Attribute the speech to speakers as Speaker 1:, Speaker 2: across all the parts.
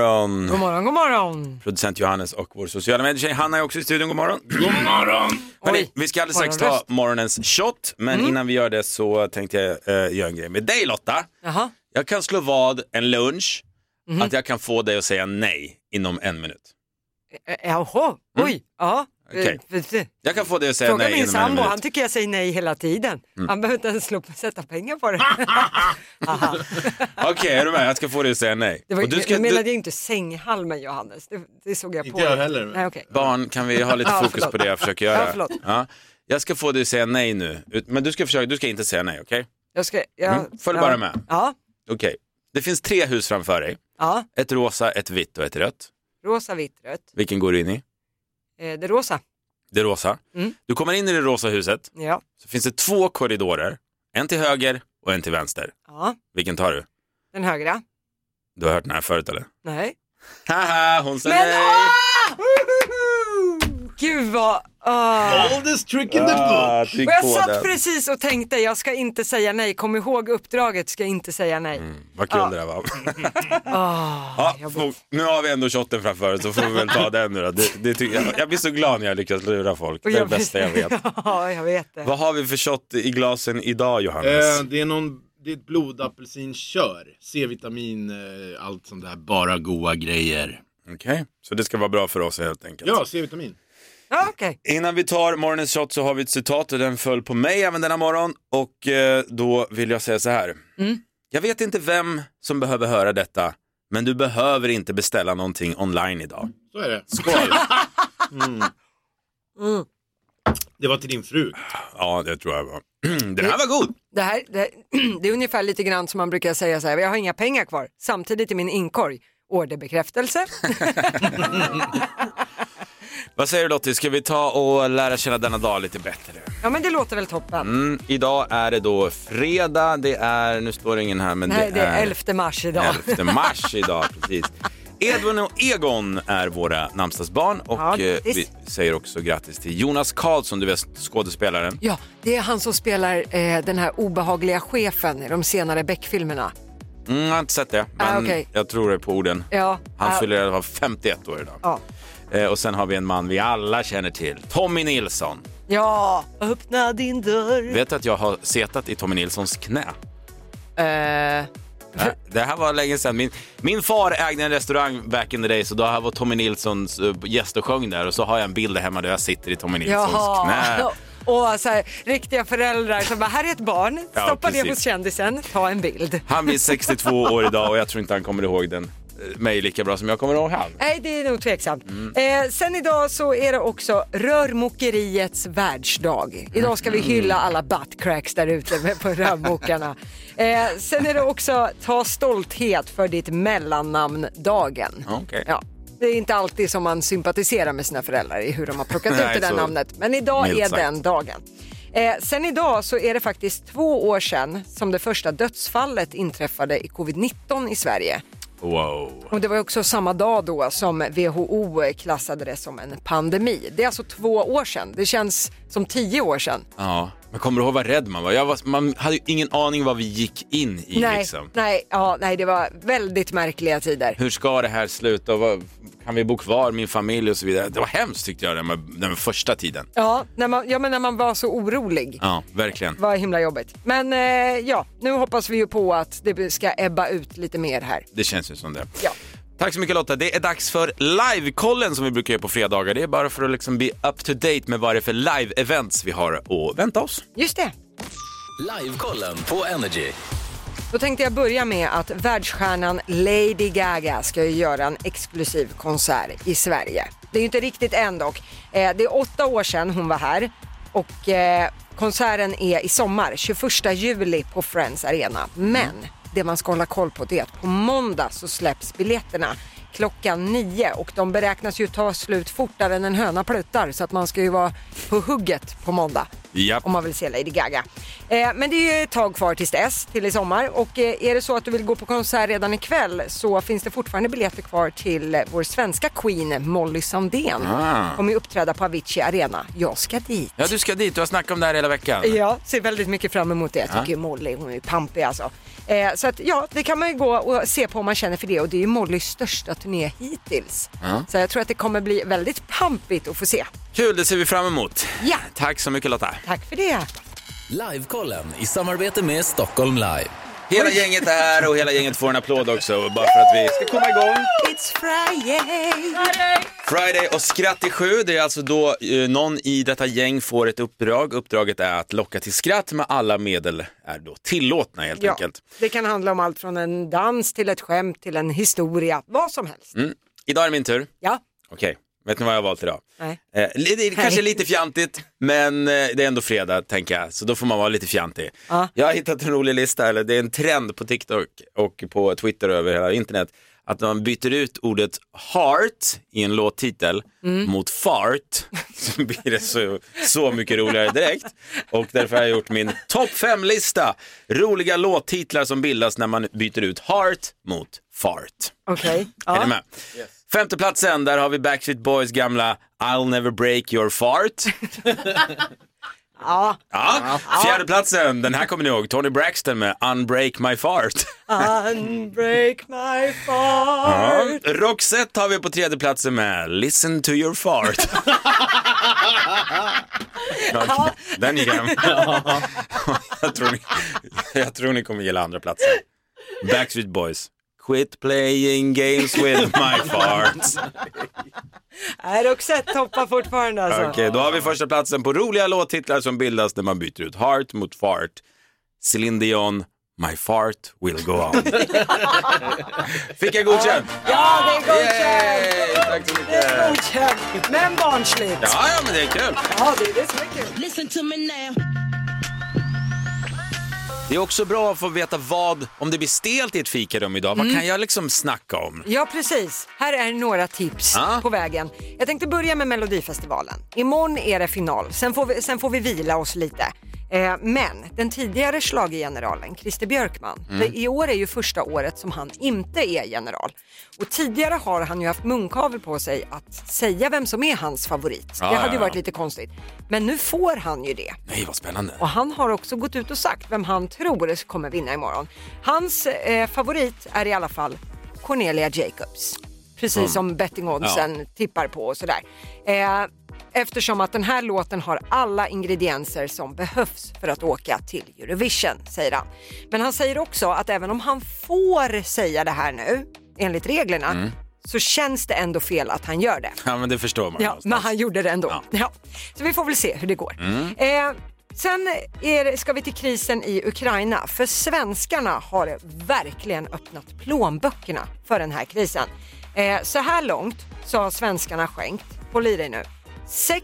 Speaker 1: morgon.
Speaker 2: God morgon, god morgon.
Speaker 1: Producent Johannes och vår sociala medietjej Hanna är också i studion. God morgon. God
Speaker 2: Oj,
Speaker 1: vi ska alldeles strax ta
Speaker 2: morgonröst. Mm.
Speaker 1: morgonens shot, men innan vi gör det så tänkte jag eh, göra en grej med dig Lotta.
Speaker 2: Jaha.
Speaker 1: Jag kan slå vad en lunch,
Speaker 2: Mhm.
Speaker 1: att jag kan få dig att säga nej inom en minut.
Speaker 2: Eh, Jaha, oj. Ja.
Speaker 1: Mm. Okej.
Speaker 2: Eh, för-
Speaker 1: Jag kan få dig att säga
Speaker 2: Fråga
Speaker 1: nej
Speaker 2: min
Speaker 1: inom en
Speaker 2: sambo,
Speaker 1: minut. Mm.
Speaker 2: han tycker jag säger nej hela tiden. Han behöver inte ens slå på sätta pengar på det.
Speaker 1: Ah!
Speaker 2: Aha.
Speaker 1: Okej, är du med? Jag ska få dig att säga nej.
Speaker 2: Det var,
Speaker 1: Och du ska,
Speaker 2: jag menade
Speaker 1: du,
Speaker 2: ju inte sänghalmen Johannes, det, det såg jag på.
Speaker 3: Inte jag heller.
Speaker 2: Nej, okej.
Speaker 1: barn, kan vi ha lite
Speaker 2: Ja,
Speaker 1: fokus
Speaker 2: förlåt.
Speaker 1: på det jag försöker
Speaker 2: Ja,
Speaker 1: göra?
Speaker 2: förlåt.
Speaker 1: Ja. Jag ska få dig att säga nej nu, Ut- men du ska, försöka, du ska inte säga nej, okej?
Speaker 2: Jag ska, jag,
Speaker 1: Mm, följ
Speaker 2: ja.
Speaker 1: bara med.
Speaker 2: Ja,
Speaker 1: Okej. Det finns tre hus framför dig.
Speaker 2: ja.
Speaker 1: Ett rosa, ett vitt och ett rött.
Speaker 2: rosa, vitt, rött.
Speaker 1: Vilken går du in i?
Speaker 2: Eh, det rosa,
Speaker 1: Det rosa.
Speaker 2: Mm.
Speaker 1: Du kommer in i det rosa huset,
Speaker 2: ja.
Speaker 1: så finns det två korridorer. En till höger och en till vänster.
Speaker 2: ja.
Speaker 1: Vilken tar du?
Speaker 2: Den högra,
Speaker 1: Du har hört den här förut eller?
Speaker 2: nej.
Speaker 1: Haha, hon sa
Speaker 2: Men
Speaker 1: nej! Ah,
Speaker 2: åh! Gud vad... ah.
Speaker 3: Oldest trick in the book.
Speaker 1: tryck
Speaker 2: Och jag
Speaker 1: på
Speaker 2: satt
Speaker 1: den.
Speaker 2: precis och tänkte jag ska inte säga nej, kom ihåg uppdraget ska inte säga nej.
Speaker 1: Vad kul
Speaker 2: Ja.
Speaker 1: det där var.
Speaker 2: Ah,
Speaker 1: Ja,
Speaker 2: jag blir-
Speaker 1: får- nu har vi ändå shotten framför oss så får vi väl ta den nu då. Det, det tycker jag, jag blir så glad när jag lyckas lura folk. Det är det
Speaker 2: blir-
Speaker 1: bästa jag vet.
Speaker 2: ja, jag vet det.
Speaker 1: Vad har vi för shot i glasen idag Johannes?
Speaker 3: Eh, det är någon, det är ett blodapelsinkör. C-vitamin, eh, allt sånt där. Bara goa grejer.
Speaker 1: Okej, så det ska vara bra för oss helt enkelt.
Speaker 3: Ja, C-vitamin.
Speaker 2: Ja, okej.
Speaker 1: Innan vi tar morgonens shot så har vi ett citat och den föll på mig även denna morgon och eh, då vill jag säga så här.
Speaker 2: Mm.
Speaker 1: Jag vet inte vem som behöver höra detta, men du behöver inte beställa någonting online idag.
Speaker 3: Så är det.
Speaker 1: Skål!
Speaker 3: Det var till din fru.
Speaker 1: ja, det tror jag var. den här var god!
Speaker 2: Det här det, här- det är ungefär lite grann som man brukar säga så här, jag har inga pengar kvar, samtidigt i min inkorg, orderbekräftelse.
Speaker 1: Vad säger du Lottie, ska vi ta och lära känna denna dag lite bättre?
Speaker 2: ja men det låter väl toppen.
Speaker 1: Mm, idag är det då fredag, det är, nu står det ingen här men
Speaker 2: Nej, det är 11 mars idag.
Speaker 1: 11 mars idag, precis. Edvin och Egon är våra namnsdagsbarn och
Speaker 2: Ja,
Speaker 1: eh,
Speaker 2: grattis.
Speaker 1: vi säger också grattis till Jonas Karlsson, du vet skådespelaren.
Speaker 2: Ja, det är han som spelar eh, den här obehagliga chefen i de senare Beck-filmerna.
Speaker 1: Mm, jag har inte sett det, men
Speaker 2: Ah, okej.
Speaker 1: jag tror det på orden.
Speaker 2: Ja,
Speaker 1: Han
Speaker 2: ah.
Speaker 1: fyller i alla fall 51 år idag.
Speaker 2: Ja.
Speaker 1: Eh, och sen har vi en man vi alla känner till, Tommy Nilsson.
Speaker 2: Ja, öppna din dörr.
Speaker 1: Vet du att jag har setat i Tommy Nilssons knä?
Speaker 2: Eh,
Speaker 1: Nej, Det här var länge sedan. Min, min far ägde en restaurang back in the day, så då här var Tommy Nilssons eh, gäst och sjöng där. Och så har jag en bild hemma där jag sitter i Tommy Nilssons knä.
Speaker 2: Jaha. Och så här, riktiga föräldrar som bara, här är ett barn,
Speaker 1: Ja,
Speaker 2: stoppa det
Speaker 1: precis.
Speaker 2: hos kändisen, ta en bild.
Speaker 1: Han blir 62 år idag och jag tror inte han kommer ihåg den, eh, mig lika bra som jag kommer ihåg han.
Speaker 2: Nej, det är nog tveksamt. Eh, sen idag så är det också rörmokeriets världsdag. Idag ska vi hylla alla buttcracks där ute med- på rörmokarna. Eh, sen är det också ta stolthet för ditt mellannamn-dagen.
Speaker 1: Okej.
Speaker 2: Ja. Det är inte alltid som man sympatiserar med sina föräldrar i hur de har plockat ut
Speaker 1: Nej,
Speaker 2: det där
Speaker 1: så-
Speaker 2: namnet. Men idag
Speaker 1: milt
Speaker 2: är
Speaker 1: sagt.
Speaker 2: den dagen. Eh, sen idag så är det faktiskt två år sedan som det första dödsfallet inträffade i covid-19 i Sverige.
Speaker 1: Wow.
Speaker 2: Och det var också samma dag då som WHO klassade det som en pandemi. Det är alltså två år sedan. Det känns som tio år sedan.
Speaker 1: Ja. Men kommer du ihåg vad rädd man var? Jag var? Man hade ju ingen aning vad vi gick in i
Speaker 2: nej,
Speaker 1: liksom.
Speaker 2: nej, ja, nej, det var väldigt märkliga tider.
Speaker 1: Hur ska det här sluta? Och Vad, kan vi bo kvar, min familj och så vidare? Det var hemskt tyckte jag den, med- den första tiden.
Speaker 2: Ja, när man, ja, men när man var så orolig.
Speaker 1: Ja, verkligen.
Speaker 2: Vad himla jobbigt. Men eh, ja, nu hoppas vi ju på att det ska ebba ut lite mer här.
Speaker 1: Det känns ju som det.
Speaker 2: Ja.
Speaker 1: Tack så mycket Lotta. Det är dags för livekollen som vi brukar göra på fredagar. Det är bara för att liksom bli up to date med vad det är för live-events vi har att vänta oss.
Speaker 2: Just det.
Speaker 4: Livekollen på Energy.
Speaker 2: Då tänkte jag börja med att världsstjärnan Lady Gaga ska ju göra en exklusiv konsert i Sverige. Det är ju inte riktigt än dock. Eh, Det är åtta år sedan hon var här och eh, konserten är i sommar, 21 juli på Friends Arena. Men det man ska hålla koll på det är att på måndag så släpps biljetterna klockan nio och de beräknas ju ta slut fortare än en höna pluttar så att man ska ju vara på hugget på måndag
Speaker 1: Japp.
Speaker 2: om man vill se Lady Gaga. Eh, men det är ju ett tag kvar tills dess, till i sommar och eh, är det så att du vill gå på konsert redan ikväll så finns det fortfarande biljetter kvar till eh, vår svenska Queen Molly Sandén.
Speaker 1: Ah.
Speaker 2: Kommer ju uppträda på Avicii Arena. Jag ska dit.
Speaker 1: Ja, du ska dit. Du har snackat om det här hela veckan.
Speaker 2: Ja, ser väldigt mycket fram emot det. Jag tycker ju Molly, hon är ju pampig alltså. Eh, så att ja, det kan man ju gå och se på om man känner för det och det är ju Mollys största turné hittills. Så jag tror att det kommer bli väldigt pampigt att få se.
Speaker 1: Kul, det ser vi fram emot.
Speaker 2: Ja.
Speaker 1: Tack så mycket Lotta.
Speaker 2: Tack för det.
Speaker 4: Livekollen i samarbete med Stockholm Live.
Speaker 1: Hela gänget är här och hela gänget får en applåd också bara för att vi ska komma igång.
Speaker 2: It's Friday!
Speaker 1: Friday och skratt i sju, det är alltså då eh, någon i detta gäng får ett uppdrag. Uppdraget är att locka till skratt med alla medel är då tillåtna helt
Speaker 2: Ja,
Speaker 1: enkelt.
Speaker 2: det kan handla om allt från en dans till ett skämt till en historia, vad som helst.
Speaker 1: Mm. Idag är det min tur.
Speaker 2: Ja,
Speaker 1: Okej, vet ni vad jag har valt idag?
Speaker 2: nej.
Speaker 1: Eh, li- det är kanske lite fjantigt, men eh, det är ändå fredag tänker jag, så då får man vara lite fjantig.
Speaker 2: Ja.
Speaker 1: Jag har hittat en rolig lista, eller det är en trend på TikTok och på Twitter och över hela internet, att man byter ut ordet heart i en låttitel
Speaker 2: Mm.
Speaker 1: mot fart, så blir det så, så mycket roligare direkt. Och därför har jag gjort min topp fem-lista, roliga låttitlar som bildas när man byter ut heart mot fart.
Speaker 2: Okej.
Speaker 1: Är ni
Speaker 2: Ja.
Speaker 1: med? Femteplatsen, där har vi Backstreet Boys gamla I'll never break your fart.
Speaker 2: Ja.
Speaker 1: Ja. Fjärdeplatsen, den här kommer ni ihåg, Tony Braxton med Unbreak my fart.
Speaker 2: Unbreak my
Speaker 1: Ja.
Speaker 2: heart.
Speaker 1: Roxette har vi på tredjeplatsen med Listen to your fart. Ja, Den gick hem. Jag tror, ni, jag tror ni kommer gilla andra platsen. Backstreet Boys. Quit playing games with my fart.
Speaker 2: Nej, Roxette toppar fortfarande alltså.
Speaker 1: Okej, då har vi första platsen på roliga låttitlar som bildas när man byter ut heart mot fart. Céline Dion, My fart will go on. Fick jag godkänt?
Speaker 2: Ja, det är godkänt!
Speaker 1: Yay! Tack så
Speaker 2: Det är
Speaker 1: mycket.
Speaker 2: godkänt, men barnsligt. Ja,
Speaker 1: Ja, ja, men det är kul.
Speaker 2: det är det som är kul.
Speaker 5: Listen to me now.
Speaker 1: Det är också bra att få veta vad, om det blir stelt i ett fikarum idag,
Speaker 2: Mm.
Speaker 1: vad kan jag liksom snacka om?
Speaker 2: Ja, precis. Här är några tips
Speaker 1: Ja.
Speaker 2: på vägen. Jag tänkte börja med Melodifestivalen. Imorgon är det final, sen får vi, sen får vi vila oss lite. Eh, men den tidigare schlagergeneralen Christer Björkman,
Speaker 1: Mm.
Speaker 2: för i år är ju första året som han inte är general. Och tidigare har han ju haft munkavel på sig att säga vem som är hans favorit.
Speaker 1: Ja,
Speaker 2: det hade
Speaker 1: ja,
Speaker 2: ju
Speaker 1: ja.
Speaker 2: varit lite konstigt. Men nu får han ju det.
Speaker 1: Nej, vad spännande.
Speaker 2: Och han har också gått ut och sagt vem han tror kommer vinna imorgon. Hans eh, favorit är i alla fall Cornelia Jacobs. Precis som bettingoddsen tippar på och sådär. Eh, eftersom att den här låten har alla ingredienser som behövs för att åka till Eurovision, säger han. Men han säger också att även om han får säga det här nu, enligt reglerna, så känns det ändå fel att han gör det.
Speaker 1: Ja, men det förstår man.
Speaker 2: Ja,
Speaker 1: någonstans.
Speaker 2: men han gjorde det ändå.
Speaker 1: Ja. Mm.
Speaker 2: Ja. Så vi får väl se hur det går. Eh, sen är, det- ska vi till krisen i Ukraina, för svenskarna har verkligen öppnat plånböckerna för den här krisen. Eh, så här långt så har svenskarna skänkt, håll i dig nu,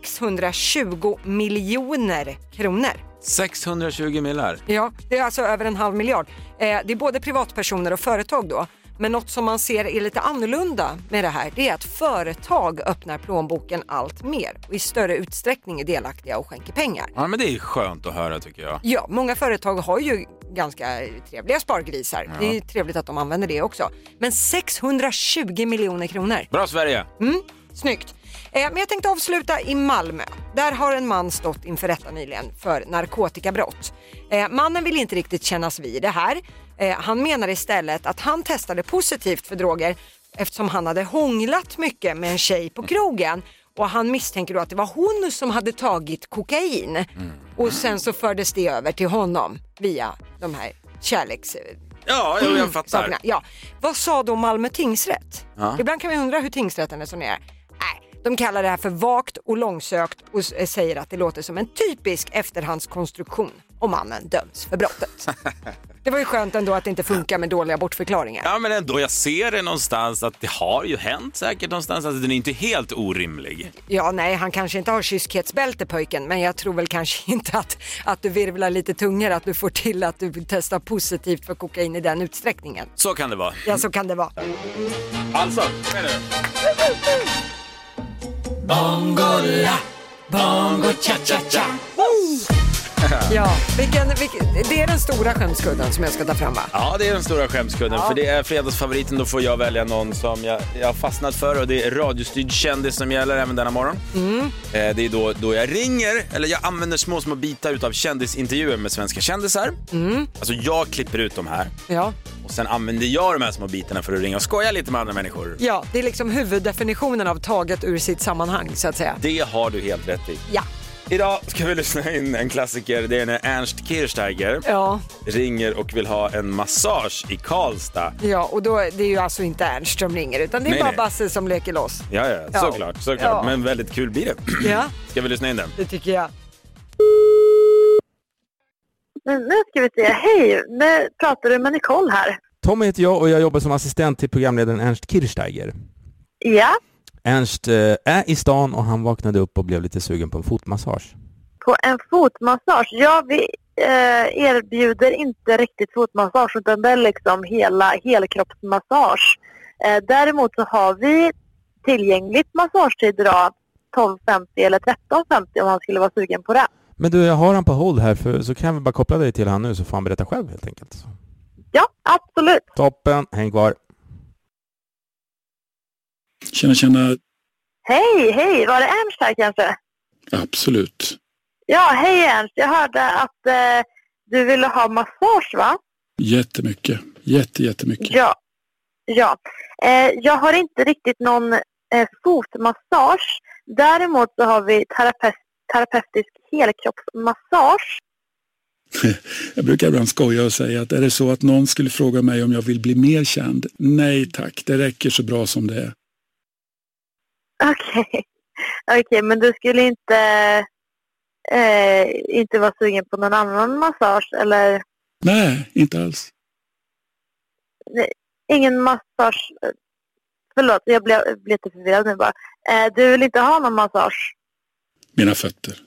Speaker 2: 620 miljoner kronor.
Speaker 1: 620 millar.
Speaker 2: Ja, det är alltså över en halv miljard. Eh, det är både privatpersoner och företag då. Men något som man ser är lite annorlunda med det här, det är att företag öppnar plånboken allt mer och i större utsträckning är delaktiga och skänker pengar.
Speaker 1: Ja, men det är skönt att höra tycker jag.
Speaker 2: Ja, många företag har ju ganska trevliga spargrisar. Det är ju trevligt att de använder det också. Men 620 miljoner kronor.
Speaker 1: Bra Sverige!
Speaker 2: Mm. Snyggt. Eh, Men jag tänkte avsluta i Malmö. Där har en man stått inför rätta nyligen för narkotikabrott. Eh, Mannen vill inte riktigt kännas vid det här. Eh, Han menar istället att han testade positivt för droger eftersom han hade hånglat mycket med en tjej på krogen och han misstänker då att det var hon som hade tagit kokain och sen så fördes det över till honom via de här kärleks...
Speaker 1: Ja, jo, jag
Speaker 2: Mm, Sakerna.
Speaker 1: fattar.
Speaker 2: Ja. Vad sa då Malmö tingsrätt?
Speaker 1: Ja.
Speaker 2: Ibland kan vi undra hur tingsrätten resonerar. Nej, de kallar det här för vagt och långsökt och s- eh, säger att det låter som en typisk efterhandskonstruktion om mannen döms för brottet. Det var ju skönt ändå att det inte funkar med dåliga bortförklaringar.
Speaker 1: Ja men ändå, jag ser det någonstans att det har ju hänt säkert någonstans. Alltså den är inte helt orimlig.
Speaker 2: Ja, nej, han kanske inte har kyskhetsbälte pojken, men jag tror väl kanske inte att, att du virvlar lite tungor, att du får till att du testar positivt för kokain i den utsträckningen.
Speaker 1: Så kan det vara.
Speaker 2: Ja, så kan det vara.
Speaker 1: Mm. Alltså, kom igen nu.
Speaker 2: Ja, vilken, vilken, det är den stora skämskudden som jag ska ta fram, va?
Speaker 1: Ja, det är den stora skämskudden. För det är fredagsfavoriten. Då får jag välja någon som jag, jag har fastnat för och det är radiostyrd kändis som gäller även denna morgon. Eh, det är då, då jag ringer, eller jag använder små, små bitar utav kändisintervjuer med svenska kändisar. Alltså jag klipper ut de här
Speaker 2: Ja.
Speaker 1: och sen använder jag de här små bitarna för att ringa och skoja lite med andra människor.
Speaker 2: ja, det är liksom huvuddefinitionen av taget ur sitt sammanhang, så att säga.
Speaker 1: Det har du helt rätt i.
Speaker 2: Ja.
Speaker 1: Idag ska vi lyssna in en klassiker. Det är när Ernst Kirchsteiger
Speaker 2: Ja,
Speaker 1: ringer och vill ha en massage i Karlstad.
Speaker 2: ja, och då, det är ju alltså inte Ernst som ringer utan det är
Speaker 1: Nej,
Speaker 2: bara
Speaker 1: nej.
Speaker 2: Basse som leker loss.
Speaker 1: Ja, ja,
Speaker 2: Ja.
Speaker 1: såklart. såklart.
Speaker 2: Ja.
Speaker 1: Men väldigt kul blir det.
Speaker 2: Ja,
Speaker 1: Ska vi lyssna in den?
Speaker 2: det tycker jag.
Speaker 5: Men nu ska vi se. Hej, nu pratar du med Nicole här.
Speaker 6: Tommy heter jag och jag jobbar som assistent till programledaren Ernst Kirchsteiger.
Speaker 5: Ja,
Speaker 6: Ernst eh, är i stan och han vaknade upp och blev lite sugen på en fotmassage.
Speaker 5: på en fotmassage. Ja, vi eh, erbjuder inte riktigt fotmassage utan det är liksom hela helkroppsmassage. Eh, däremot så har vi tillgängligt massagetid idag 12.50 eller 13.50 om han skulle vara sugen på det.
Speaker 6: Men du, jag har han på hold här för, så kan vi bara koppla dig till han nu så får han berätta själv helt enkelt.
Speaker 5: Ja, absolut.
Speaker 6: Toppen, häng kvar.
Speaker 7: Tjena, tjena.
Speaker 5: Hej, hej, var det Ernst här kanske?
Speaker 7: Absolut.
Speaker 5: Ja, hej Ernst. Jag hörde att eh, du ville ha massage va?
Speaker 7: Jättemycket. Jätte, jättemycket.
Speaker 5: Ja. ja. Eh, jag har inte riktigt någon eh, fotmassage. Däremot så har vi terape- terapeutisk helkroppsmassage.
Speaker 7: Jag brukar ibland skoja och säga att är det så att någon skulle fråga mig om jag vill bli mer känd? Nej tack, det räcker så bra som det är.
Speaker 5: Okej, Okej, men du skulle inte, eh, inte vara sugen på någon annan massage? Eller
Speaker 7: Nej, inte alls.
Speaker 5: ingen massage? eh, Förlåt, jag blev, jag blev lite förvirrad nu bara. Eh, du vill inte ha någon massage?
Speaker 7: Mina fötter.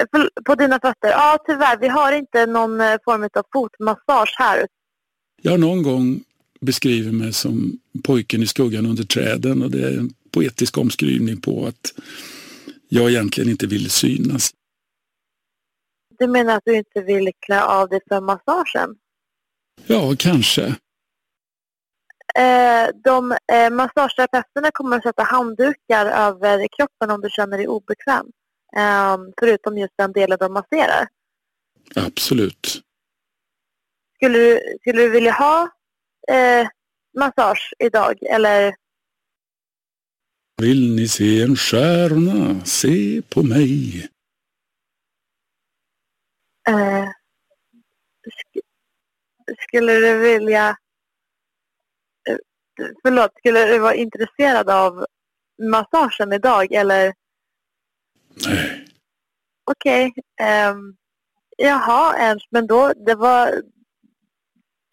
Speaker 5: Eh, förl- På dina fötter? Ja, tyvärr. Vi har inte någon eh, form av fotmassage här
Speaker 7: Jag har någon gång beskrivit mig som pojken i skuggan under träden och det är en poetisk omskrivning på att jag egentligen inte ville synas.
Speaker 5: Du menar att du inte vill klä av dig för massagen?
Speaker 7: Ja, kanske.
Speaker 5: Eh, de eh, massageterapeuterna kommer att sätta handdukar över kroppen om du känner dig obekväm. Eh, förutom just den delen de masserar.
Speaker 7: Absolut.
Speaker 5: Skulle du, skulle du vilja ha eh, massage idag? Eller
Speaker 7: Vill ni se en stjärna? Se på mig.
Speaker 5: eh, sk- skulle du vilja... Eh, förlåt, skulle du vara intresserad av massagen idag? Eller
Speaker 7: Nej.
Speaker 5: Okej. ehm, jaha, Ernst, men då, det var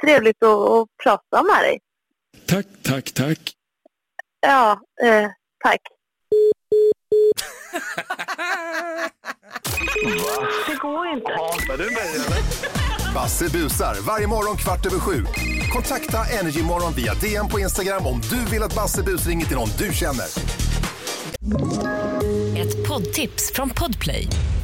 Speaker 5: trevligt att, att prata med dig.
Speaker 7: Tack, tack, tack.
Speaker 5: Ja, eh, tack.
Speaker 8: Basse busar varje morgon kvart över sju. Kontakta Energymorgon via DM på Instagram om du vill att Basse bus ringer till någon du känner.
Speaker 9: Ett poddtips från Podplay.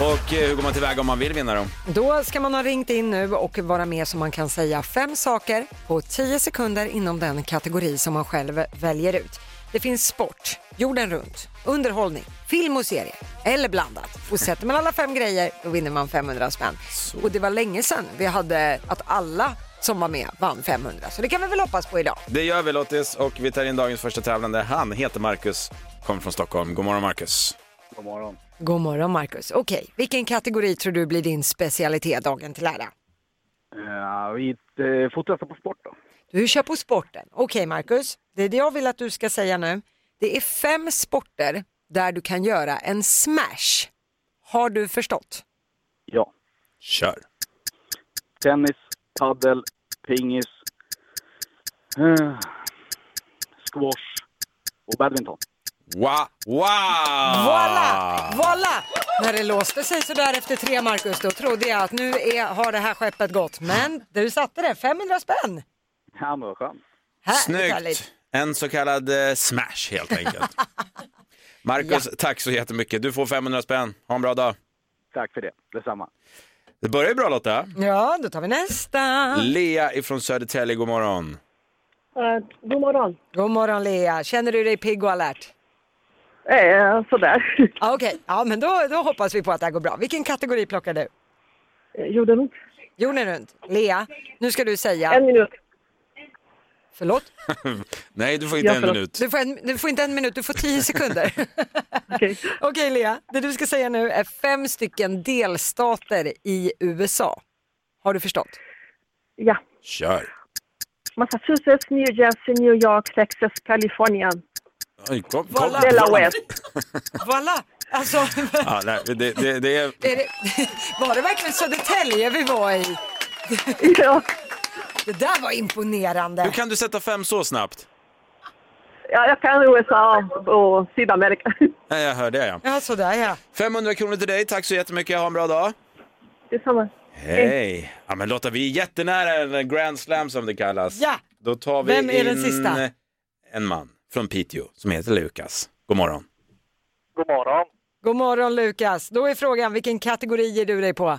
Speaker 1: Och eh, hur går man tillväga om man vill vinna då?
Speaker 2: Då ska man ha ringt in nu och vara med så man kan säga fem saker på 10 sekunder inom den kategori som man själv väljer ut. Det finns sport, jorden runt, underhållning, film och serie eller blandat. Och sätter man alla fem grejer då vinner man 500 spänn. Och det var länge sedan vi hade att alla som var med vann 500 så det kan vi väl hoppas på idag.
Speaker 1: Det gör vi Lottis och vi tar in dagens första tävlande. Han heter Marcus, kommer från Stockholm. God morgon Marcus.
Speaker 10: God morgon.
Speaker 2: God morgon Marcus. Okej, vilken kategori tror du blir din specialitet dagen till ära?
Speaker 10: Ja, vi eh, fortsätter på sport då.
Speaker 2: Du kör på sporten. Okej Marcus, det är det jag vill att du ska säga nu. Det är fem sporter där du kan göra en smash. Har du förstått?
Speaker 10: Ja.
Speaker 1: Kör.
Speaker 10: Tennis, paddel, pingis, eh, squash och badminton.
Speaker 1: Wow! wow.
Speaker 2: Voila! Voila! När det låste sig sådär efter tre Marcus, då trodde jag att nu är, har det här skeppet gått. Men du satte det, 500 spänn!
Speaker 10: Ja, men vad skönt.
Speaker 2: Härligt,
Speaker 1: Snyggt!
Speaker 2: härligt.
Speaker 1: En så kallad eh, smash helt enkelt. Marcus, tack så jättemycket. Du får 500 spänn. Ha en bra dag.
Speaker 10: Tack för det. Detsamma.
Speaker 1: Det börjar ju bra Lotta.
Speaker 2: Ja, då tar vi nästa.
Speaker 1: Lea ifrån Södertälje, god morgon.
Speaker 11: Eh,
Speaker 2: god morgon. God morgon Lea. Känner du dig pigg och alert?
Speaker 11: Eh, sådär.
Speaker 2: Ja, Okej, ja, men då, då hoppas vi på att det här går bra. Vilken kategori plockar du?
Speaker 11: Jorden runt.
Speaker 2: Jorden runt. Lea, nu ska du säga...
Speaker 11: En minut.
Speaker 2: Förlåt?
Speaker 1: Nej, du får inte en minut.
Speaker 2: Du får, en, du får inte en minut, du får tio sekunder. Okej. Lea, det du ska säga nu är fem stycken delstater i USA. Har du förstått?
Speaker 11: Ja.
Speaker 1: Kör.
Speaker 11: Massachusetts, New Jersey, New York, Texas, Kalifornien.
Speaker 1: Oj, kom, kom.
Speaker 11: Voilà. Delaware.
Speaker 2: Voilà! Alltså,
Speaker 1: Ja, nej, det, det, det är...
Speaker 2: är det, var det verkligen Södertälje vi var i?
Speaker 11: Ja.
Speaker 2: Det där var imponerande.
Speaker 1: Hur kan du sätta fem så snabbt?
Speaker 11: Ja, jag kan USA och Sydamerika.
Speaker 1: Nej, jag hör det ja.
Speaker 2: Ja, sådär ja.
Speaker 1: 500 kronor till dig, tack så jättemycket. Ha en bra dag.
Speaker 11: Detsamma.
Speaker 1: Hej! Ja, men Lotta, vi är jättenära en eh, grand slam som det kallas.
Speaker 2: Ja.
Speaker 1: Då tar vi
Speaker 2: Vem är
Speaker 1: in
Speaker 2: den sista?
Speaker 1: en man från Piteå som heter Lukas. God morgon.
Speaker 10: God morgon.
Speaker 2: God morgon Lukas. Då är frågan, vilken kategori ger du dig på?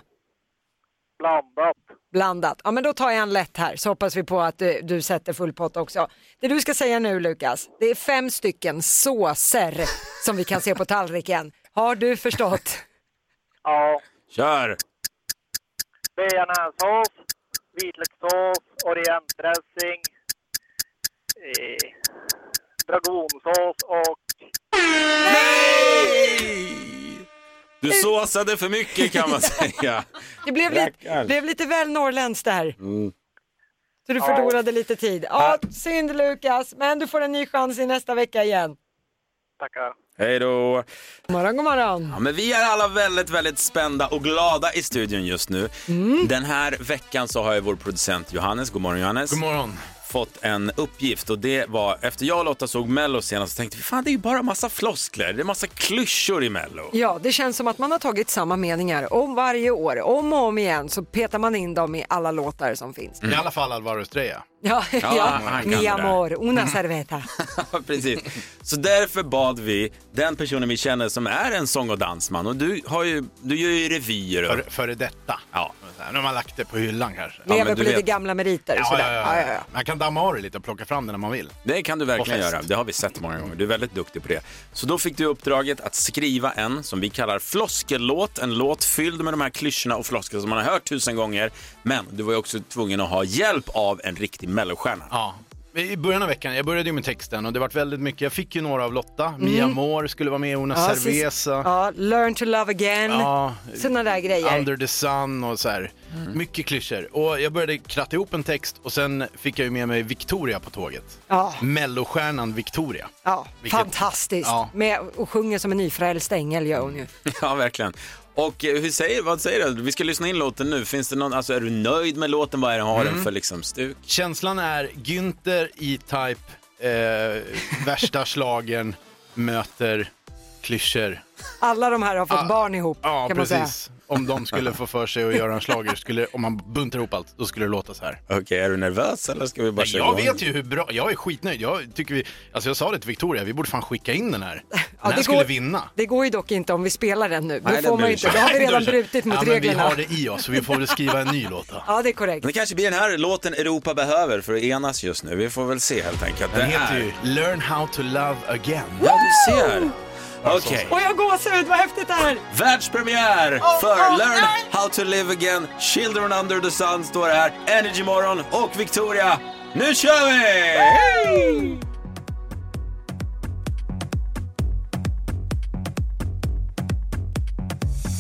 Speaker 10: Blandat.
Speaker 2: Blandat. Ja, men då tar jag en lätt här så hoppas vi på att du, du sätter full pott också. Det du ska säga nu Lukas, det är fem stycken såser som vi kan se på tallriken. Har du förstått?
Speaker 10: Ja.
Speaker 1: Kör!
Speaker 10: Bearnaisesås, vitlökssås, orientdressing, eh, dragonsås och...
Speaker 1: Du såsade för mycket kan man säga.
Speaker 2: Det blev, lite,
Speaker 1: Rackarn.
Speaker 2: blev lite väl norrländskt där.
Speaker 1: Mm.
Speaker 2: Så du
Speaker 1: Ja.
Speaker 2: förlorade lite tid. Ja, synd Lukas, men du får en ny chans i nästa vecka igen.
Speaker 10: Tackar.
Speaker 1: Hej då!
Speaker 2: God morgon, god morgon.
Speaker 1: Ja, men vi är alla väldigt, väldigt spända och glada i studion just nu. Den här veckan så har ju vår producent Johannes, god morgon Johannes. God morgon. Fått en uppgift och det var efter jag och Lotta såg Mello senast så tänkte vi fan det är ju bara massa floskler, det är massa klyschor i Mello.
Speaker 2: Ja, det känns som att man har tagit samma meningar om varje år, om och om igen så petar man in dem i alla låtar som finns.
Speaker 3: I alla fall Alvaro Estrella.
Speaker 2: Ja,
Speaker 1: Mm. Ja,
Speaker 2: ja,
Speaker 1: han kan
Speaker 2: mi
Speaker 1: det där. Mm.
Speaker 2: amor, una cerveta.
Speaker 1: Ja, Precis. Så därför bad vi den personen vi känner som är en sång och dansman och du, har ju, du gör ju revyer. Före
Speaker 3: detta?
Speaker 1: Ja.
Speaker 3: Nu har man lagt det på hyllan kanske.
Speaker 2: Lever på lite gamla meriter.
Speaker 3: Ja,
Speaker 2: sådär.
Speaker 3: ja, ja. Man kan damma av det lite och plocka fram det när man vill.
Speaker 1: Det kan du verkligen
Speaker 3: Och fest.
Speaker 1: göra. Det har vi sett många gånger. Du är väldigt duktig på det. Så då fick du uppdraget att skriva en som vi kallar floskellåt. En låt fylld med de här klyschorna och floskler som man har hört tusen gånger. Men du var ju också tvungen att ha hjälp av en riktig mellostjärna.
Speaker 3: Ja. I början av veckan, jag började ju med texten och det vart väldigt mycket. Jag fick ju några av Lotta. Mia Moore skulle vara med, Una
Speaker 2: Ja, sist-
Speaker 3: Cerveza.
Speaker 2: ja, learn to love again,
Speaker 3: Ja.
Speaker 2: sådana där grejer. Mm.
Speaker 3: Under the sun och så här. Mycket klyschor. Och jag började kratta ihop en text och sen fick jag ju med mig Victoria på tåget.
Speaker 2: Ja.
Speaker 3: Mellostjärnan Victoria.
Speaker 2: Ja,
Speaker 3: Vilket-
Speaker 2: fantastiskt.
Speaker 3: Ja.
Speaker 2: Med, och sjunger som en nyfrälst ängel gör hon ju.
Speaker 1: Ja, verkligen. Och eh, hur säger, vad säger du? Vi ska lyssna in låten nu. Finns det någon, alltså, är du nöjd med låten? Vad är den, har den
Speaker 3: Mm.
Speaker 1: för liksom, stuk?
Speaker 3: Känslan är Günther E-Type, eh, värsta slagen möter klyschor.
Speaker 2: Alla de här har fått barn ihop
Speaker 3: Ja,
Speaker 2: kan man säga.
Speaker 3: precis. Om de skulle få för sig att göra en schlager, skulle, om man buntar ihop allt, då skulle det låta så här.
Speaker 1: Okej, är du nervös eller ska vi bara
Speaker 3: Jag vet ju hur bra, jag är skitnöjd. Jag, tycker vi, alltså jag sa det till Victoria, vi borde fan skicka in den här.
Speaker 2: Ja,
Speaker 3: den här
Speaker 2: det
Speaker 3: skulle
Speaker 2: går-
Speaker 3: vinna.
Speaker 2: Det går ju dock inte om vi spelar den nu. Då
Speaker 3: Nej, den
Speaker 2: får man
Speaker 3: blir
Speaker 2: ju inte,
Speaker 3: så.
Speaker 2: då har vi redan
Speaker 3: Då-
Speaker 2: brutit mot
Speaker 3: ja, men
Speaker 2: reglerna.
Speaker 3: Vi har det i oss, så vi får väl skriva en ny låt då.
Speaker 2: Ja, det är korrekt.
Speaker 1: Men det kanske blir den här låten Europa behöver för att enas just nu. Vi får väl se helt enkelt.
Speaker 3: Den
Speaker 1: Det
Speaker 3: heter
Speaker 1: är-
Speaker 3: ju Learn how to love again.
Speaker 1: Ja, du ser.
Speaker 9: Alltså.
Speaker 1: Okej.
Speaker 2: Och jag går ut, vad häftigt det här!
Speaker 1: Världspremiär
Speaker 2: Åh,
Speaker 9: Oh,
Speaker 1: för
Speaker 2: åh,
Speaker 1: Learn
Speaker 2: nej!
Speaker 1: How to Live Again, Children Under the Sun står det här, Energy Morgon och Victoria. Nu kör vi!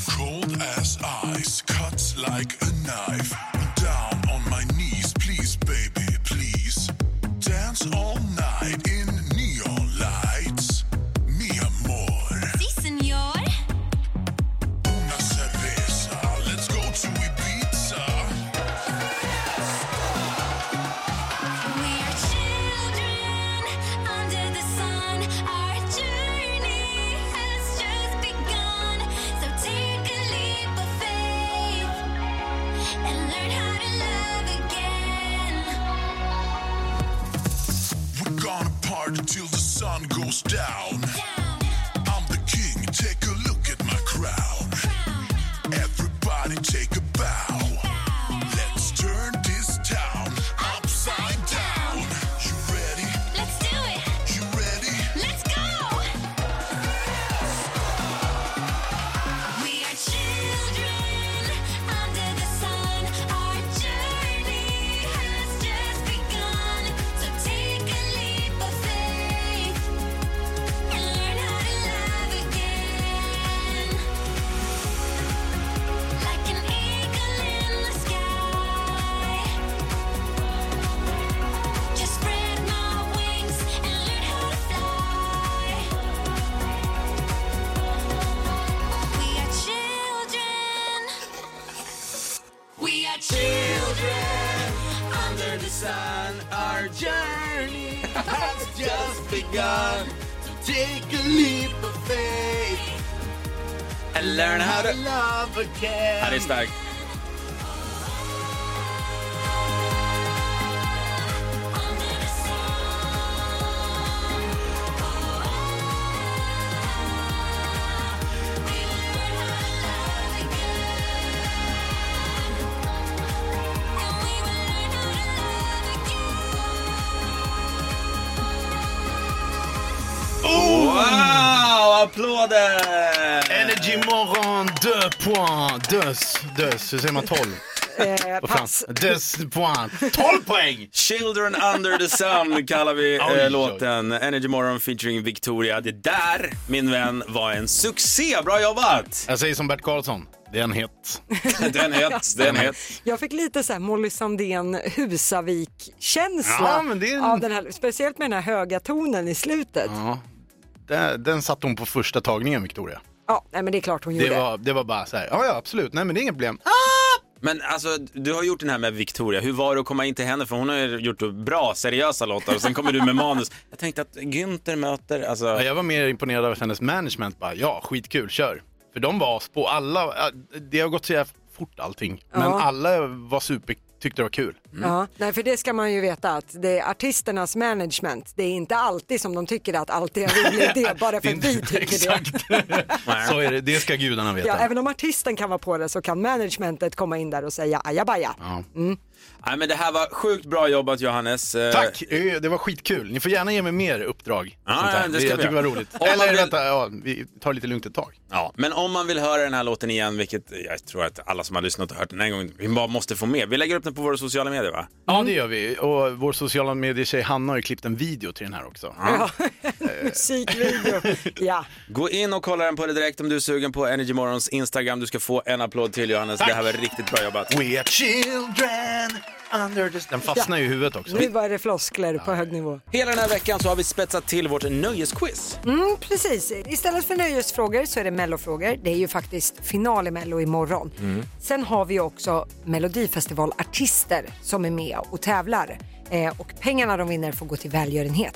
Speaker 12: Cold as ice, cuts like a knife. Down on my knees, please, baby, please. Dance all night in neon lights. Mi amor. Si, senor. Una cerveza. Let's go to Ibiza.
Speaker 9: We are children under the sun. Our journey has just begun. So take a leap of faith and learn how to love again.
Speaker 12: We're gonna party till the sun goes down. I'm the king, take a look at my crown. Everybody take a bow. Let's turn this town upside down. You ready?
Speaker 9: Let's do it.
Speaker 12: You ready?
Speaker 9: Let's go. We are children under the sun. Our journey has just begun. So take a leap of faith and learn how to love again. Like an eagle in the sky. Just spread my wings and learn how to fly. We are children. We are children under the sun. Our journey has just begun. So take a leap of
Speaker 1: And learn how to... Ja, det
Speaker 9: faith love again.
Speaker 1: är starkt. Wow, applåder!
Speaker 3: Energy morgon, deux points. Deux, deux. Hur säger man tolv?
Speaker 2: Eh,
Speaker 3: Vad fan?
Speaker 2: pass.
Speaker 3: Deux points. Tolv poäng!
Speaker 1: Children under the sun kallar vi eh, låten. Energy Morgon featuring Victoria. Det där, min vän, var en succé. Bra jobbat!
Speaker 3: Jag säger som Bert Karlsson. Det är en het.
Speaker 1: det är en het, det är en het.
Speaker 2: Jag fick lite så här Molly Sandén
Speaker 3: Ja,
Speaker 2: Husavik-känsla
Speaker 3: men det är-
Speaker 2: av den här, speciellt med den här höga tonen i slutet. Ja,
Speaker 3: Ja. Den, den satte hon på första tagningen, Victoria.
Speaker 2: nej, men det är klart hon
Speaker 3: Det
Speaker 2: gjorde.
Speaker 3: var, det var bara så här, ja ja absolut, nej men det är inget problem.
Speaker 1: Men alltså, du har gjort den här med Victoria. Hur var det att komma in till henne? För hon har ju gjort bra, seriösa låtar och sen kommer du med manus. Jag tänkte att Günther möter, alltså...
Speaker 3: Ja, jag var mer imponerad av att hennes management bara, ja skitkul, kör. För de var as på alla, ja, det har gått så jävla fort allting. Men
Speaker 2: Ja.
Speaker 3: alla var super, tyckte det var kul.
Speaker 2: Ja, nej, för det ska man ju veta att det är artisternas management. Det är inte alltid som de tycker att allt är en rolig idé bara för att vi tycker det.
Speaker 3: så är det, det ska gudarna veta.
Speaker 2: Ja, även om artisten kan vara på det så kan managementet komma in där och säga ajabaja. Mm.
Speaker 1: Nej, men det här var sjukt bra jobbat, Johannes. Eh,
Speaker 3: Tack, eh, det var skitkul. Ni får gärna ge mig mer uppdrag.
Speaker 1: Ja,
Speaker 3: Sånt här.
Speaker 1: ja, det ska
Speaker 3: jag
Speaker 1: vi
Speaker 3: tycker det
Speaker 1: göra.
Speaker 3: var roligt.
Speaker 1: Om man
Speaker 3: Eller
Speaker 1: vill-
Speaker 3: vänta, ja, vi tar lite lugnt ett tag.
Speaker 1: Ja, men om man vill höra den här låten igen, vilket jag tror att alla som har lyssnat har hört den en gång, vi bara måste få med. Vi lägger upp den på våra sociala medier, va?
Speaker 3: Ja, det gör vi. Och vår sociala medier-tjej Hanna har ju klippt en video till den här också.
Speaker 2: Musikvideo. ja.
Speaker 1: Gå in och kolla den på det direkt om du är sugen på Energy Morgons Instagram. Du ska få en applåd till Johannes. Det här var riktigt bra jobbat.
Speaker 3: We are children under the... Den fastnar ju i huvudet också.
Speaker 2: Nu var det floskler på hög nivå.
Speaker 1: Hela den här veckan så har vi spetsat till vårt nöjesquiz.
Speaker 2: Mm, precis. Istället för nöjesfrågor så är det mellofrågor. Det är ju faktiskt final i mello imorgon. Sen har vi ju också melodifestivalartister som är med och tävlar. Eh, och pengarna de vinner får gå till välgörenhet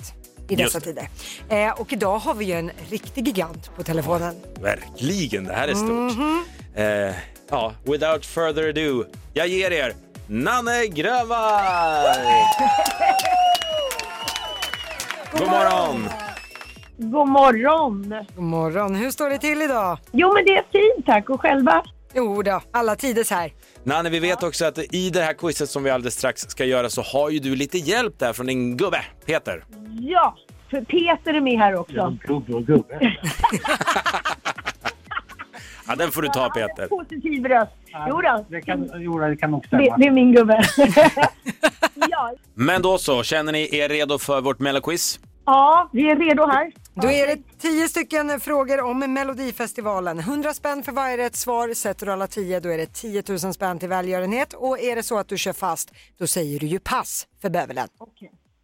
Speaker 2: i dessa
Speaker 1: Just
Speaker 2: tider. Eh, och idag har vi ju en riktig gigant på telefonen.
Speaker 1: Verkligen, det här är stort.
Speaker 2: Mhm.
Speaker 1: Eh, ja, without further ado, jag ger er Nanne Grönvall! God morgon!
Speaker 13: God morgon!
Speaker 2: God morgon. Hur står det till idag?
Speaker 13: Jo, men det är fint tack. Och själva?
Speaker 2: Jo då, alla tiders här.
Speaker 1: Nanne, vi vet också att i det här quizet som vi alldeles strax ska göra så har ju du lite hjälp där från din gubbe, Peter.
Speaker 13: Ja, för Peter är med här också.
Speaker 1: Gubbe och gubbe. ja, den får du ta, Peter.
Speaker 13: Positiv röst. Jo då. Det,
Speaker 10: Jo, det kan nog
Speaker 13: det, är min gubbe.
Speaker 1: Men då så, känner ni er redo för vårt melloquiz?
Speaker 13: ja, vi är redo här.
Speaker 2: Då är det tio stycken frågor om Melodifestivalen. 100 spänn för varje rätt svar. Sätter du alla tio då är det 10 000 spänn till välgörenhet. Och är det så att du kör fast då säger du ju pass för bövelen.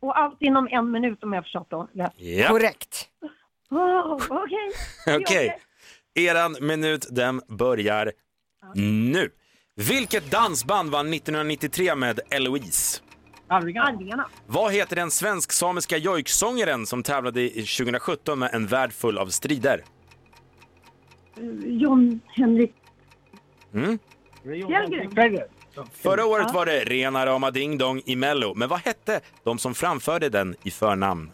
Speaker 13: Och allt inom en minut om jag förstått då. rätt.
Speaker 1: Ja.
Speaker 2: Korrekt.
Speaker 13: Oh, Okej.
Speaker 1: Okej, eran minut den börjar nu. Vilket dansband vann 1993 med Eloise?
Speaker 13: Arvingarna.
Speaker 1: Vad heter den svensk-samiska jojksångaren som tävlade i 2017 med en värld full av strider?
Speaker 13: Eh, John Henrik
Speaker 1: Mm.
Speaker 13: Fjällgren.
Speaker 1: Förra året
Speaker 13: Ja.
Speaker 1: var det Rena rama ding dong i Mello, men vad hette de som framförde den i förnamn?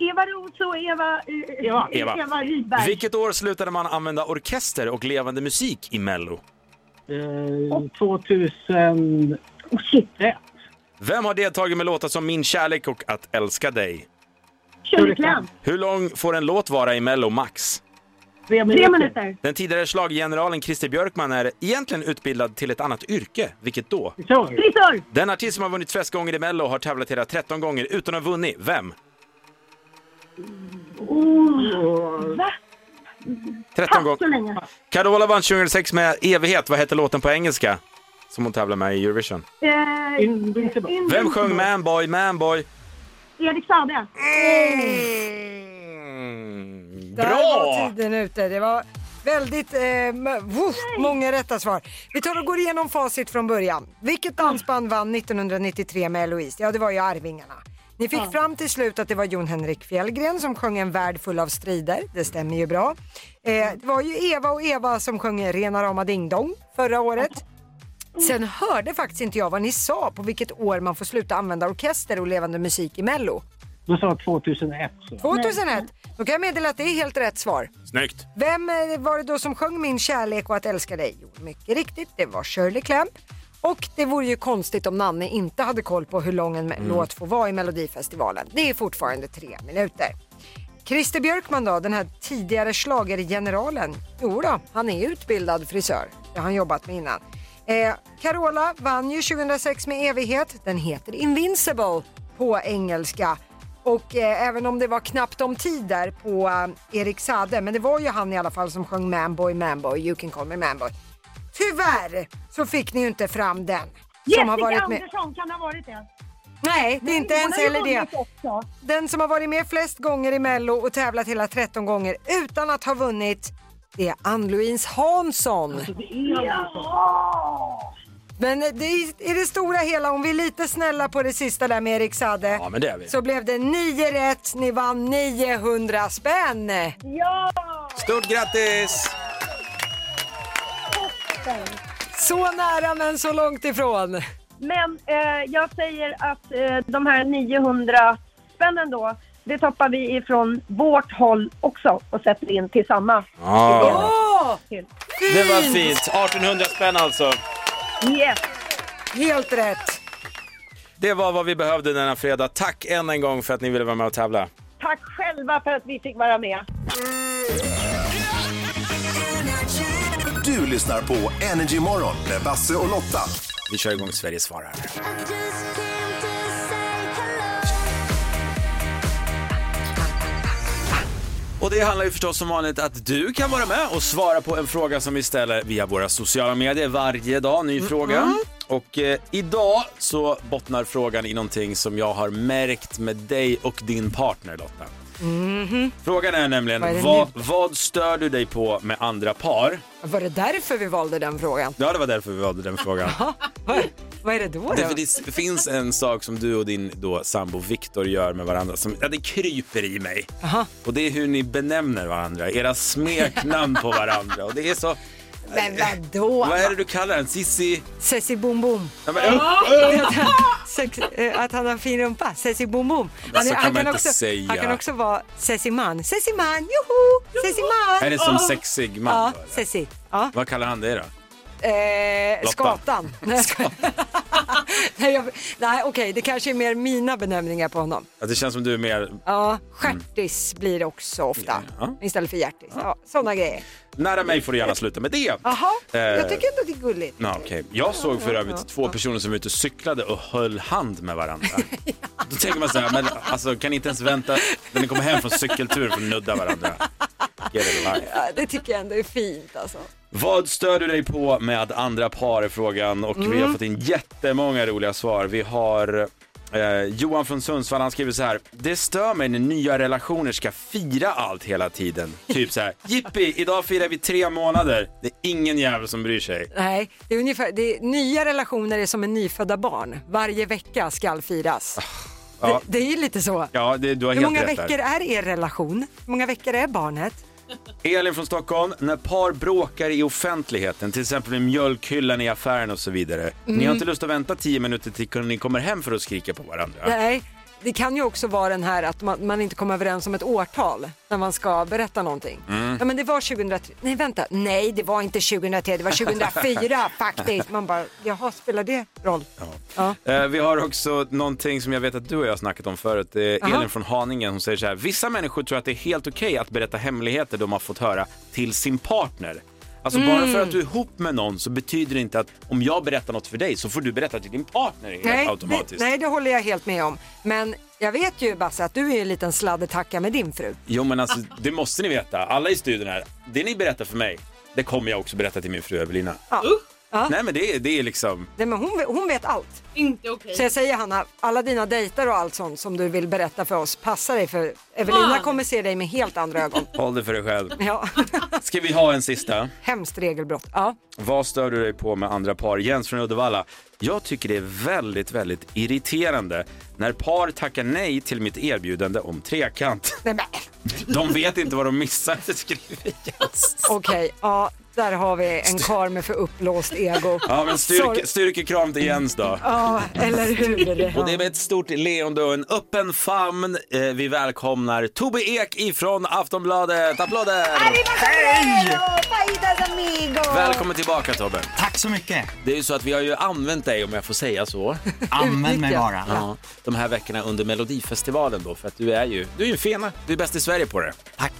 Speaker 13: Eva Roos och Eva, eh,
Speaker 1: Eva.
Speaker 13: Eva. Eva Rydberg.
Speaker 1: Vilket år slutade man använda orkester och levande musik i Mello?
Speaker 10: 2000...
Speaker 1: Vem har deltagit med låtar som Min kärlek och Att älska dig?
Speaker 13: Shirley Clamp.
Speaker 1: Hur lång får en låt vara i Mello max?
Speaker 13: Tre minuter.
Speaker 1: Den tidigare schlagergeneralen Christer Björkman är egentligen utbildad till ett annat yrke. Vilket då?
Speaker 13: Frisör.
Speaker 1: Den artist som har vunnit flest gånger i Mello har tävlat hela 13 gånger utan att ha vunnit. Vem?
Speaker 13: Oh. Va?
Speaker 1: 13
Speaker 13: Så
Speaker 1: gånger.
Speaker 13: länge.
Speaker 1: Carola vann 2006 med Evighet. Vad hette låten på engelska? Som hon tävlar med i Eurovision.
Speaker 13: Eh, Invincible.
Speaker 1: Vem sjöng Manboy, Manboy?
Speaker 13: Erik Saade.
Speaker 1: Mm,
Speaker 2: Där var
Speaker 1: bra!
Speaker 2: tiden ute. Det var väldigt eh, m- woof, många rätta svar. Vi tar och går igenom facit från början. Vilket dansband vann 1993 med Eloise? Ja, det var ju Arvingarna. Ni fick fram till slut att det var Jon Henrik Fjällgren som sjöng En värld full av strider. Det stämmer ju bra. Eh, det var ju Eva och Eva som sjöng Rena rama ding dong förra året. Sen hörde faktiskt inte jag vad ni sa på vilket år man får sluta använda orkester och levande musik i Mello.
Speaker 10: Du sa 2001. Så.
Speaker 2: 2001. Då kan jag meddela att det är helt rätt svar.
Speaker 1: Snyggt!
Speaker 2: Vem eh, var det då som sjöng Min kärlek och att älska dig? Jo, mycket riktigt, det var Shirley Clamp. Och det vore ju konstigt om Nanne inte hade koll på hur lång en me-
Speaker 14: Mm.
Speaker 2: låt får vara i Melodifestivalen. Det är fortfarande tre minuter. Christer Björkman då, den här tidigare schlagergeneralen. Jo då, han är utbildad frisör. Det har han jobbat med innan. Eh, Carola vann ju 2006 med Evighet. Den heter Invincible på engelska. Och eh, även om det var knappt om tid där på eh, Erik Sade, men det var ju han i alla fall som sjöng Manboy, Manboy, You can call me Manboy. Tyvärr så fick ni ju inte fram den.
Speaker 13: Jessica
Speaker 2: som har varit med.
Speaker 13: Andersson kan ha varit det.
Speaker 2: Nej, det är inte
Speaker 13: hon
Speaker 2: ens
Speaker 13: har ju
Speaker 2: heller det.
Speaker 13: vunnit också.
Speaker 2: Den som har varit med flest gånger i Mello och tävlat hela 13 gånger utan att ha vunnit, det är Ann-Louise Hansson.
Speaker 13: Alltså, Ja!
Speaker 2: Men det, i- i det stora hela, om vi är lite snälla på det sista där med Erik Sade,
Speaker 1: men det är vi.
Speaker 2: så blev det 9 rätt. Ni vann 900 spänn.
Speaker 13: Ja!
Speaker 1: Stort grattis!
Speaker 2: Så nära men så långt ifrån.
Speaker 13: Men eh, jag säger att eh, de här 900 spännen då, det toppar vi ifrån vårt håll också och sätter in till samma.
Speaker 1: Ja.
Speaker 13: Till.
Speaker 1: Det var fint! 1800 spänn alltså.
Speaker 13: Yes.
Speaker 2: Helt rätt.
Speaker 1: Det var vad vi behövde denna fredag. Tack än en gång för att ni ville vara med och tävla.
Speaker 13: Tack själva för att vi fick vara med.
Speaker 8: Du lyssnar på Energy Morgon med Basse och Lotta.
Speaker 1: Vi kör igång Sverige svarar. Och det handlar ju förstås som vanligt att du kan vara med och svara på en fråga som vi ställer via våra sociala medier varje dag, ny fråga. Och eh, idag så bottnar frågan i någonting som jag har märkt med dig och din partner Lotta. Frågan är nämligen,
Speaker 2: Mm-hmm. Vad är det nu?
Speaker 1: vad, vad stör du dig på med andra par?
Speaker 2: Var det därför vi valde den frågan?
Speaker 1: Ja, det var därför vi valde den frågan.
Speaker 2: Vad är det då?
Speaker 1: Därför
Speaker 2: då?
Speaker 1: det finns en sak som du och din då sambo Viktor gör med varandra som, ja det kryper i mig. Och det är hur ni benämner varandra, era smeknamn på varandra. Och det är så,
Speaker 2: Men vadå?
Speaker 1: Vad är det du kallar den? Sissi?
Speaker 2: Sessi Boom Boom.
Speaker 1: Ja, men-
Speaker 2: Att han- sex- eh, Att han har en fin rumpa, Sessi Boom Boom.
Speaker 1: Men
Speaker 2: Han,
Speaker 1: så Alltså,
Speaker 2: är-
Speaker 1: kan
Speaker 2: han,
Speaker 1: man
Speaker 2: kan,
Speaker 1: inte
Speaker 2: också,
Speaker 1: säga.
Speaker 2: han kan också vara Sessi Man. Sessi Man, joho! Sessi Man!
Speaker 1: Är det som
Speaker 2: Åh.
Speaker 1: sexig
Speaker 2: Ja,
Speaker 1: man? då?
Speaker 2: Sessi. Ja.
Speaker 1: Vad kallar han det då?
Speaker 2: Eh,
Speaker 1: Lotta.
Speaker 2: skatan. Nej, jag skojar. Nej, jag- nej, okej, det kanske är mer mina benämningar på honom.
Speaker 1: Att det känns som du är mer...
Speaker 2: Ja,
Speaker 1: Mm.
Speaker 2: stjärtis blir det också ofta. Istället för hjärtis. Ja, sådana grejer.
Speaker 1: Nära mig får du gärna sluta med det.
Speaker 2: Jaha,
Speaker 1: Eh.
Speaker 2: jag tycker ändå det är gulligt.
Speaker 1: Ja, okej. Jag såg för övrigt två personer som var ute och cyklade och höll hand med varandra. Då tänker man så här, men alltså, kan ni inte ens vänta när ni kommer hem från cykelturen för att nudda varandra? Get it life.
Speaker 2: Ja, det tycker jag ändå är fint alltså.
Speaker 1: Vad stör du dig på med andra par är frågan och vi har
Speaker 2: Mm.
Speaker 1: fått in jättemånga roliga svar. Vi har eh, Johan från Sundsvall, han skriver så här. Det stör mig när nya relationer ska fira allt hela tiden. Typ så här, jippi, idag firar vi tre månader. Det är ingen jävel som bryr sig.
Speaker 2: Nej, det är ungefär, det är, nya relationer är som en nyfödda barn. Varje vecka skall firas.
Speaker 1: Ah, Ja,
Speaker 2: Det är ju lite så.
Speaker 1: ja det, du har
Speaker 2: Hur
Speaker 1: helt
Speaker 2: många
Speaker 1: rätt där.
Speaker 2: veckor är er relation? Hur många veckor är barnet?
Speaker 1: Elin från Stockholm, när par bråkar i offentligheten, till exempel i mjölkhyllan i affären och så vidare. Ni har
Speaker 2: Mm.
Speaker 1: inte lust att vänta tio minuter till ni kommer hem för att skrika på varandra.
Speaker 2: Nej, det kan ju också vara den här att man, man inte kommer överens om ett årtal när man ska berätta någonting.
Speaker 1: Mm.
Speaker 2: Ja men det var 2003, nej vänta, nej det var inte 2003, det var 2004 faktiskt. Man bara, jaha spelar det roll? Ja.
Speaker 1: Eh, Vi har också någonting som jag vet att du och jag har snackat om förut. Det är
Speaker 2: Aha.
Speaker 1: Elin från Haninge, hon säger så här. Vissa människor tror att det är helt okej att berätta hemligheter de har fått höra till sin partner. Alltså bara
Speaker 2: Mm.
Speaker 1: för att du är ihop med någon så betyder det inte att om jag berättar något för dig så får du berätta till din partner helt
Speaker 2: Nej, det,
Speaker 1: automatiskt.
Speaker 2: nej, det håller jag helt med om. Men jag vet ju Basse att du är en liten sladdetacka med din fru.
Speaker 1: Jo men alltså det måste ni veta, alla i studion här. Det ni berättar för mig, det kommer jag också berätta till min fru Evelina.
Speaker 2: Ja. Ja.
Speaker 1: Nej men det, är- det är liksom,
Speaker 2: Nej, men hon, vet- hon vet allt.
Speaker 14: Inte okej.
Speaker 2: Så jag säger Hanna, alla dina dejter och allt sånt som du vill berätta för oss, passa dig för Evelina
Speaker 14: Fan.
Speaker 2: kommer se dig med helt andra ögon.
Speaker 1: håll det för dig själv.
Speaker 2: Ja,
Speaker 1: Ska vi ha en sista?
Speaker 2: hemskt regelbrott. Ja.
Speaker 1: Vad stör du dig på med andra par? Jens från Uddevalla. Jag tycker det är väldigt, väldigt irriterande när par tackar nej till mitt erbjudande om trekant.
Speaker 2: Nej, men.
Speaker 1: De vet inte vad de missar, skriver Jens.
Speaker 2: Okej, ja, där har vi en karl med för uppblåst ego.
Speaker 1: Ja, men
Speaker 2: Sorry.
Speaker 1: styrke, styrkekram till Jens då.
Speaker 2: Ja, eller hur?
Speaker 1: Och det är med ett stort leende och en öppen famn eh, vi välkomnar Tobbe Ek ifrån Aftonbladet. Applåder!
Speaker 2: Hej! Fajdas amigos!
Speaker 1: Välkommen tillbaka Tobbe.
Speaker 12: Tack så mycket.
Speaker 1: Det är ju så att vi har ju använt dig om jag får säga så.
Speaker 12: Använd mig bara.
Speaker 1: Ja, de här veckorna under Melodifestivalen då för att du är ju, du är ju en fena. Du är bäst i Sverige på det. Tack.